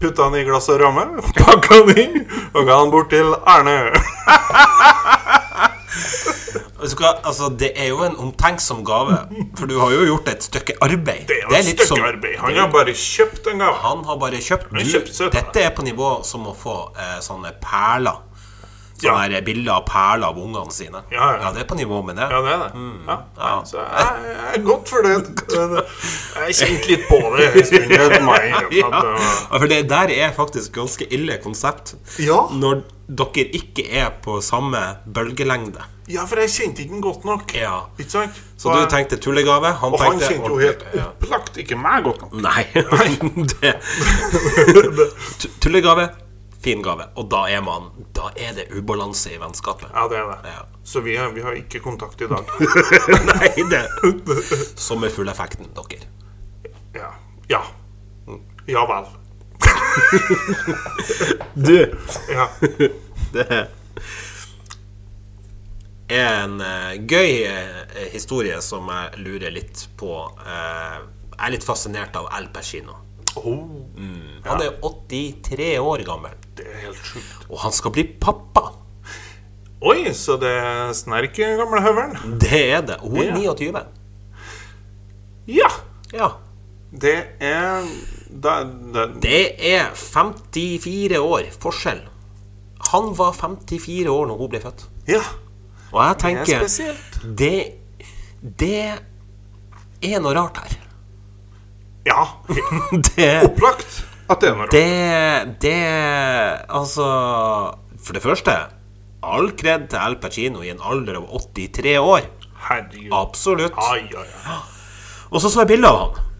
Putta den i glass og ramme, pakka den inn og ga den bort til Arne. Vet du hva, altså, det er jo en omtenksom gave, for du har jo gjort et stykke arbeid. Det er jo et stykke sånn- arbeid. Han har bare kjøpt en gave. Han har bare kjøpt, du, har kjøpt søt. Dette er på nivå som å få eh, sånne perler. Sånne Ja. her bilder av perler av ungene sine. Ja, ja. det er på nivå med det. Ja, det er det. Mm. Ja. Nei, Så jeg, jeg er godt fornøyd. Jeg kjente litt på det en stund. det må jeg innrømme at eh, det var- Ja, For det der er faktisk ganske ille konsept. Ja. Når dere ikke er på samme bølgelengde. Ja, for jeg kjente ikke den godt nok. Ja. Ikke sant? Så du tenkte tullegave, han Og han tenkte kjente jo ordentlig- helt ja. opplagt ikke meg godt nok. Nei. det. Tu- Tullegave, fin gave. Og da er man Da er det ubalanse i vennskapet. Ja, det er det. Ja. Så vi, har- vi har ikke kontakt i dag. Nei, det Som er fulleffekten, dere. Ja. Ja, ja vel. Du, Ja. det er en eh, gøy eh, historie som jeg lurer litt på. Eh, jeg er litt fascinert av Al Pacino. Oh, Han er 83 år gammel, det er helt sjukt. og han skal bli pappa. Oi, så det snerker gamle høvelen. Det er det. Og Hun er Ja. 29. Ja. Ja. Det er da, da, Det er 54 år forskjell. Han var 54 år når hun ble født. Ja. Og jeg er tenker spesielt. Det, det er noe rart her. Ja. Det Opplagt at det er noe rart. Det, det Altså For det første All kred til Al Pacino i en alder av 83 år Herregud. Absolutt. Ai, ai, ai. Og så så jeg bildet av han.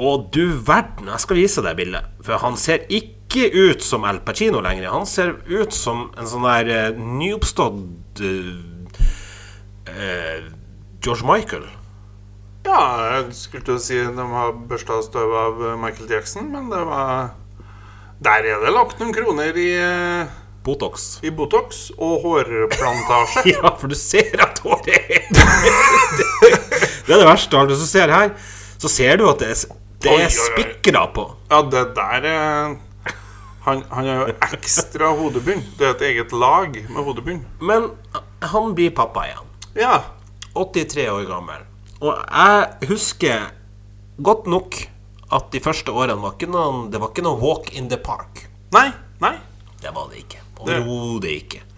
Og du verden, jeg skal vise deg bildet. For han ser ikke ut som Al Pacino lenger. Han ser ut som en sånn der eh, nyoppstått eh, eh, George Michael. Ja, jeg skulle til å si de har børsta støv av eh, Michael Jackson, men det var Der er det lagt noen kroner i, eh, Botox. i Botox og hårplantasje. Ja, for du ser at håret er Det er det verste. Alt du ser her, så ser du at det er, det Oi, oi, oi. er spikra på. Ja, det der eh, Han, han har jo ekstra hodebunn. Det er et eget lag med hodebunn. Men han blir pappa igjen. Ja. 83 år gammel. Og jeg husker godt nok at de første årene var ikke noen, det var ikke noe walk in the park. Nei. Nei. Det var det ikke. Overhodet ikke.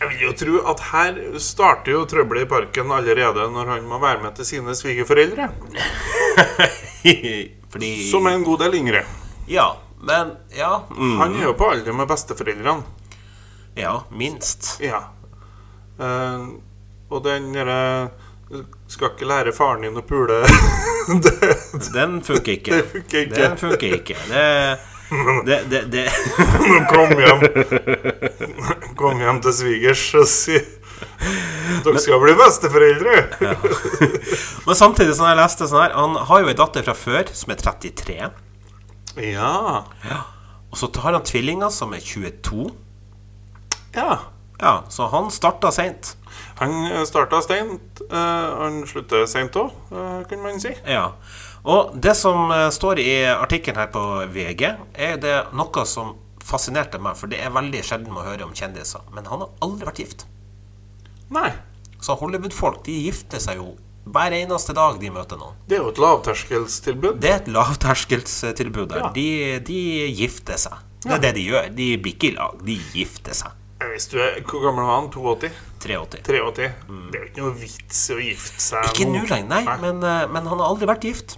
Jeg vil jo tro at her starter jo trøbbelet i parken allerede når han må være med til sine svigerforeldre, Fordi som er en god del yngre. Ja. Men Ja. Mm, Han er jo på alder med besteforeldrene. ja, minst. Ja. Eh, og den derre Skal ikke lære faren din å pule det, Den funker ikke. Det funker ikke. Den funker ikke. Det, det, det, det. Nå kom hjem Kom hjem til svigers og si Dere skal bli besteforeldre! Men samtidig som jeg leste sånn her Han har jo ei datter fra før som er 33. Ja. Og så har han tvillinger som er 22. ja. Ja, så han starta seint. Han starta seint, eh, og han slutter seint òg, eh, kunne man si. Ja. Og det som eh, står i artikkelen her på VG, er det noe som fascinerte meg, for det er veldig sjelden man hører om kjendiser. Men han har aldri vært gift. Nei. Så Hollywood-folk de gifter seg jo hver eneste dag de møter noen. Det er jo et lavterskelstilbud. Det er et lavterskelstilbud der. Ja. De, de gifter seg. Det er det de gjør. De blir ikke i lag, de gifter seg. Jeg visste jo eh, Hvor gammel var han? 82? 83. 83? Det er jo ikke noe vits i å gifte seg Ikke nå lenger, nei, men, eh, men han har aldri vært gift.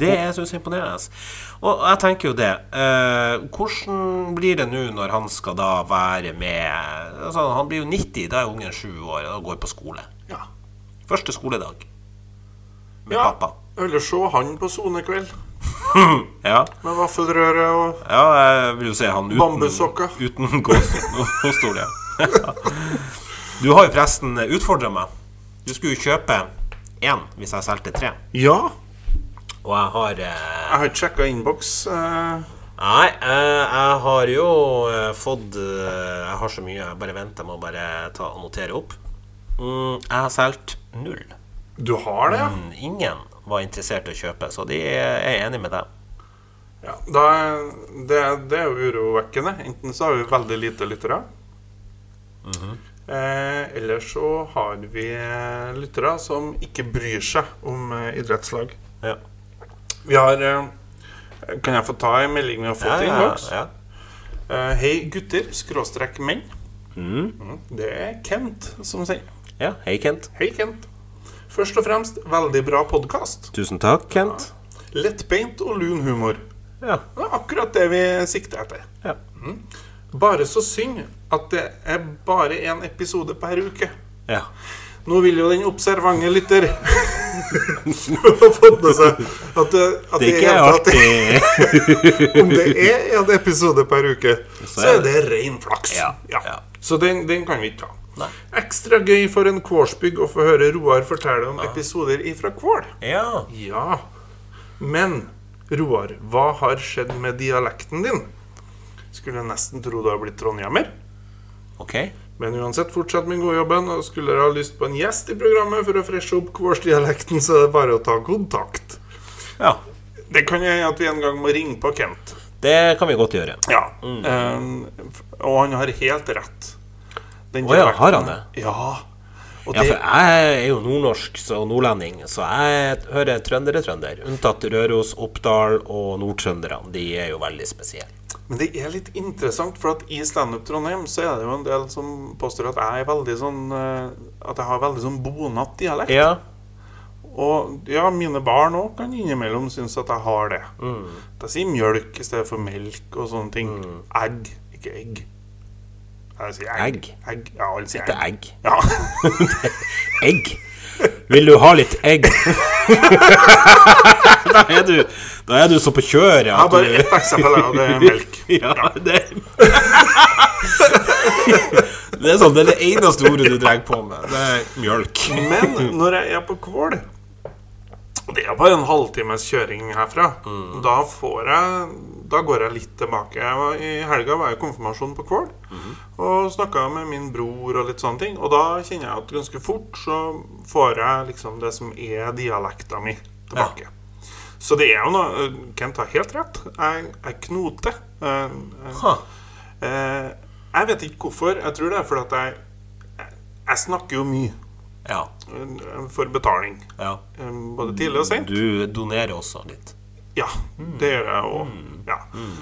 Det er synes jeg imponerende. Og jeg tenker jo det eh, Hvordan blir det nå når han skal da være med altså, Han blir jo 90, da er ungen 7 år og går på skole. Ja. Første skoledag med ja. pappa. Eller se han på sonekveld Ja, med vaffelrøre og ja, jeg vil jo se han uten Bambussokker. Uten gåstol, ja. Du har jo forresten utfordra meg. Du skulle jo kjøpe én hvis jeg solgte tre, Ja. og jeg har eh, Jeg har ikke sjekka innboks. eh, Nei, eh, jeg har jo eh, fått eh, Jeg har så mye, jeg bare venter med å bare ta og notere opp. Mm, jeg har solgt null. Du har det, ja? Mm, Ingen var interessert i å kjøpe, så de er enig med deg. ja. Da, det, det er jo urovekkende. Enten så har vi veldig lite lyttere. Mhm. eh, eller så har vi eh, lyttere som ikke bryr seg om eh, idrettslag. Ja. Vi har eh, Kan jeg få ta en melding vi har fått i innboks? ja. Eh, hei, gutter. Skråstrekk menn. Mhm. Mm, Det er Kent som sier. ja. Hei, Kent. Hei, Kent. Først og fremst, veldig bra podkast. Tusen takk, Kent. Lettbeint og lun humor. Ja. Det er akkurat det vi sikter etter. Ja. Mm. Bare så synd at det er bare én episode per uke. ja. Nå vil jo den observante lytter ha fått med seg at det, at Det er i ikke hele tatt- alltid Om det er én episode per uke, så er det ren flaks. Ja, ja. Så den, den kan vi ikke ta. Nei. Ekstra gøy for en Kårsbygg å få høre Roar fortelle om episoder ifra Kvål. Ja. Ja. Men Roar, hva har skjedd med dialekten din? Skulle nesten tro du har blitt trondhjemmer. OK. Men uansett, fortsett med godjobben. Og skulle dere ha lyst på en gjest i programmet for å freshe opp Kvårsdialekten, så er det bare å ta kontakt. Ja. Det kan hende at vi en gang må ringe på Kent. Det kan vi godt gjøre. Ja. Mm. Eh, f- og han har helt rett. Den Å ja, dialekten- har han det? Ja. Og Ja, det, for jeg er jo nordnorsk så nordlending, så jeg hører trøndere trønder. Unntatt Røros, Oppdal og nordtrønderne. De er jo veldig spesielle. Men det er litt interessant, for at i Standup Trondheim så er det jo en del som påstår at jeg er veldig sånn eh, At jeg har veldig sånn bonat dialekt. Ja. Og ja, mine barn òg kan innimellom synes at jeg har det. Mm. De sier mjølk i stedet for melk og sånne ting. Egg, ikke egg. Jeg sier egg. Egg. egg. Ja, alle sier Det er egg. egg. Ja. Egg! Vil du ha litt egg? da, er du, da er du så på kjøret Jeg har at bare du ett eksempel, og det er melk. ja, det Det er sånn, det er det eneste ordet du drar på med. Det er mjølk. Men når jeg er på Kvål Det er bare en halvtimes kjøring herfra. Da får jeg Da går jeg litt tilbake. Jeg var, I helga var jeg i konfirmasjon på Kvål og snakka med min bror og litt sånne ting. Og da kjenner jeg at ganske fort så får jeg liksom det som er dialekta mi, tilbake. Så det er jo noe Kent har helt rett. Jeg, jeg knoter. Jeg, jeg, Ha. eh, jeg vet ikke hvorfor. Jeg tror det er fordi at jeg, jeg Jeg snakker jo mye Ja. eh, for betaling. ja. Um, Både tidlig og sent? Du donerer også litt. Ja, det gjør jeg òg. Ja.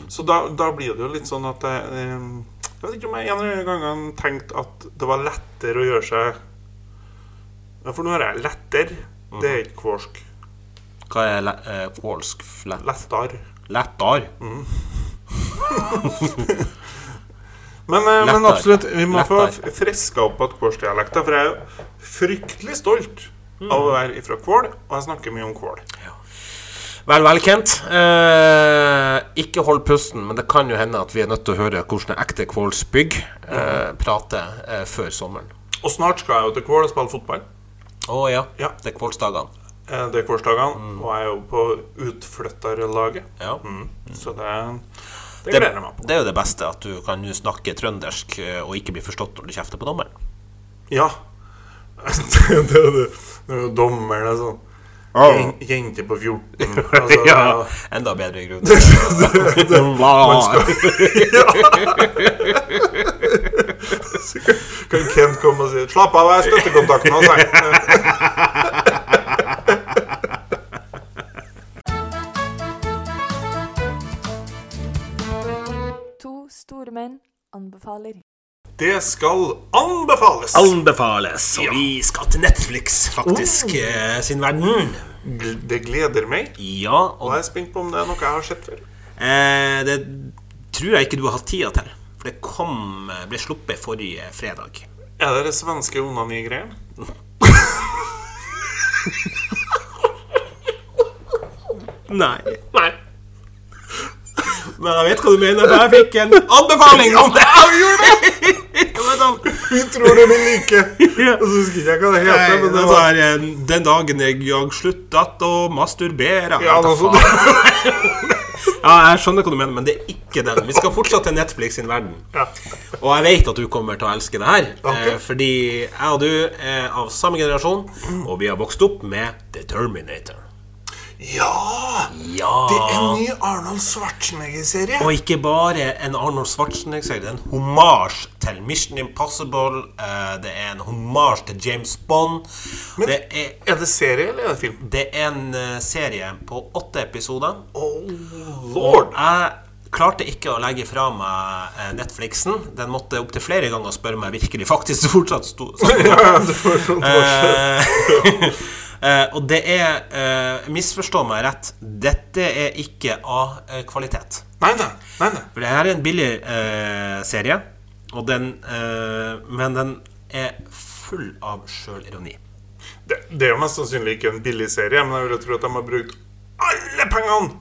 Så da, da blir det jo litt sånn at jeg um, Jeg vet ikke om jeg en eller annen gang har tenkt at det var lettere å gjøre seg Ja, for nå er jeg letter. Det er ikke kvorsk. Hva er le eh, polsk flett? Lettar. Lettar? Men, eh, men Lettar. absolutt, vi må Lettar. få freska opp at kvorskdialekta, for jeg er jo fryktelig stolt av å være ifra Kvål, og jeg snakker mye om Kvål. Vel, vel, Kent. Eh, ikke hold pusten, men det kan jo hende at vi er nødt til å høre hvordan ekte Kvålsbygg eh, prater eh, før sommeren. Og snart skal jeg jo til Kvål og spille fotball. Å ja. Ja. Det er Kvålsdagene. Eh, Det er Kvålsdagene, og jeg er jo på utflytterlaget. Mm. Ja. Så det, det Det, gleder jeg meg på. det er jo det beste, at du kan jo snakke trøndersk eh, og ikke bli forstått når du kjefter på dommeren. Ja. det det er det. Det er jo dommeren og sånn. Jen- Jente på 14. Altså, Ja, det er- eh, enda bedre grunn. Bla. Kan Kent komme og si 'Slapp av, jeg er støttekontakten hans', jeg. To store menn anbefaler. Det skal anbefales! Anbefales, og vi skal til Netflix, faktisk, eh, sin verden. Gl- Det gleder meg. Ja, Og og jeg er spent på om det er noe jeg har sett før. eh, det tror jeg ikke du har hatt tida til. For det kom, eh, ble sluppet forrige fredag. Er det det svenske onani-greien? Nei. Nei. Men jeg vet hva du mener, for jeg fikk en anbefaling om det! Det var sånn, Vi tror det vi liker. Og så husker ikke jeg hva det Nei, heter. Men det det var var en- den dagen jeg, jeg sluttet å masturbere. Ja, noe sånt. Ja, jeg skjønner hva du mener, men det er ikke den. Vi skal fortsatt til Netflix sin verden. ja. Og jeg vet at du kommer til å elske det her. Ok. Eh, fordi jeg og du er av samme generasjon, og vi har vokst opp med The Terminator. ja! Ja! Det er en ny Arnold Schwarzenegger-serie. Og ikke bare en Arnold Schwarzenegger, det er en hommage til Mission Impossible. eh, Det er en hommage til James Bond. Men- det, er, Er det serie eller er det film? det er en eh, serie på åtte episoder. Oh, Og lord! jeg klarte ikke å legge fra meg eh, Netflixen. Den måtte opptil flere ganger spørre meg virkelig faktisk fortsatt sto Ja, det var sånn Eh, eh, og det er eh, Misforstå meg rett, dette er ikke A-kvalitet. Nei, nei, nei, nei. For det her er en billig eh, serie, og den, eh, men den er full av sjølironi. Det, det er jo mest sannsynlig ikke en billig serie, men jeg vil jo tro at de har brukt alle pengene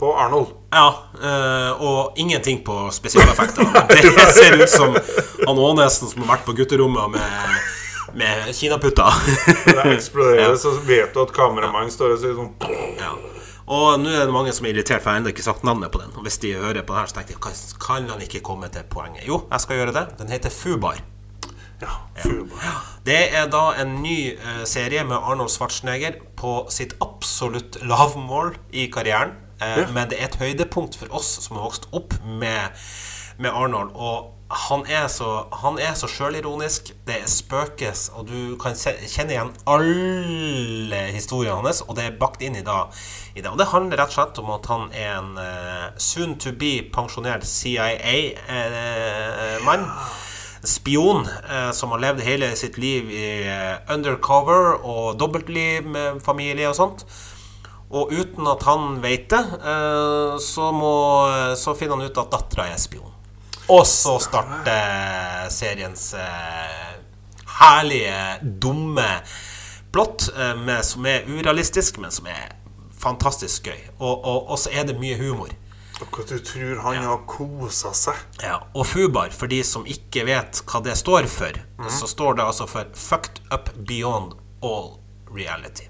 på Arnold. Ja, eh, og ingenting på spesialeffekter. Det ser ut som han Aanesen som har vært på gutterommet med, med kinaputter. Når det eksploderer, så vet du at kameramannen står og sier sånn Ja. Og nå er det mange som er irritert, for jeg har ennå ikke sagt navnet på den. Og hvis de hører på den her, så tenker jeg kan, kan han ikke komme til poenget? Jo, jeg skal gjøre det. Den heter Fubar. Ja, fubar. Det er da en ny eh, serie med Arnold Schwarzenegger på sitt absolutt lavmål i karrieren. Eh, Men det er et høydepunkt for oss som har vokst opp med, med Arnold. Og han er så, han er så sjølironisk. Det er spøkes, og du kan se, kjenne igjen alle historiene hans. Og det er bakt inn i, da, i det. Og det handler rett og slett om at han er en eh, soon to be pensjonert CIA-mann spion eh, som har levd hele sitt liv i eh, undercover og dobbeltliv med familie og sånt. Og uten at han vet det, eh, så, må, eh, så finner han ut at dattera er spion. Og så starter seriens eh, herlige, eh, dumme blått, eh, med, som er urealistisk, men som er fantastisk gøy. Og, og, og så er det mye humor. Og at du tror han har kosa seg. Ja, og FUBAR, for de som ikke vet hva det står for, så står det altså for Fucked Up Beyond All Reality.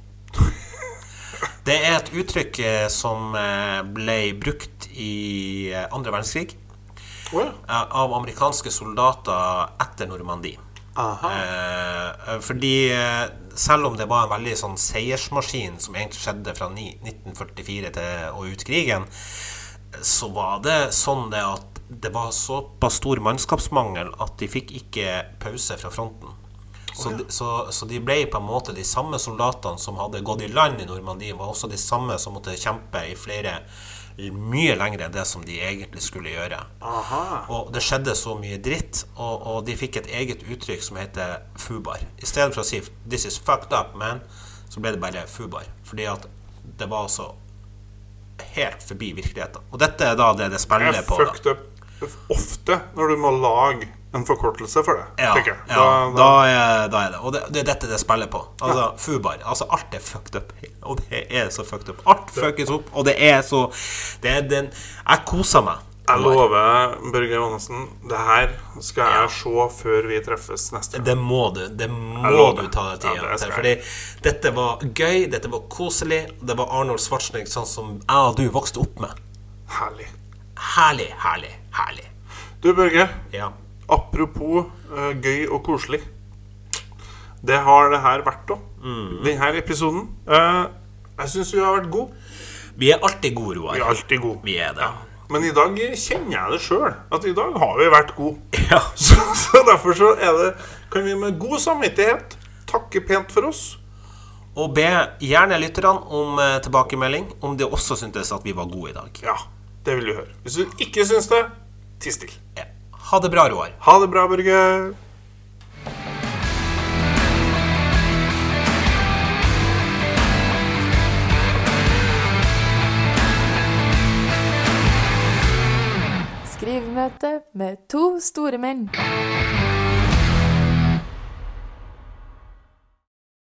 Det er et uttrykk eh, som eh, ble brukt i eh, andre verdenskrig Å ja. eh, av amerikanske soldater etter Normandie. Aha. Eh, fordi eh, selv om det var en veldig sånn seiersmaskin som egentlig skjedde fra ni, 1944 til og ut krigen, så var det sånn det at det var såpass stor mannskapsmangel at de fikk ikke pause fra fronten. Så, de, så, så de ble på en måte de samme soldatene som hadde gått i land i Normandie, var også de samme som måtte kjempe i flere mye lengre enn det som de egentlig skulle gjøre. Ah. Og det skjedde så mye dritt, og, og de fikk et eget uttrykk som heter fubar. I stedet for å si 'this is fucked up, man', så ble det bare fubar. Fordi at det var altså helt forbi virkeligheten. Og dette er da det det Jeg spiller på. Da. fucked up ofte når du må lage en forkortelse for det. Ja, tenker jeg. ja da, er, da er det. Og det, det er dette det spiller på. Altså, Fubar. Altså, alt er fucked up. Og det er så fucked up. Alt fuckes opp, og det er så Det er den Jeg koser meg. Jeg lover, Børge Johannessen, det her skal jeg se før vi treffes neste gang. Det må du. Det må lover. du ta deg Ja, tida det til. skal Fordi dette var gøy, dette var koselig. Det var Arnold Schwarzenegger sånn som jeg og du vokste opp med. Herlig. Herlig, herlig, herlig. Du, Børge. Ja. Apropos eh, gøy og koselig. Det har det her vært òg. Mm. Denne episoden. Eh, jeg syns vi har vært gode. Vi er alltid gode, Vi er Roar. alltid gode. Vi er det. Men i dag kjenner jeg det sjøl, at i dag har vi vært gode. Ja. Så, så derfor så er det, kan vi med god samvittighet takke pent for oss. Og be gjerne lytterne om eh, tilbakemelding om de også syntes at vi var gode i dag. Ja, det vil du høre. Hvis du ikke syns det, ti stille. Ja. Ha det bra, Roar. Ha det bra, Børge. Skrivemøte med to store menn.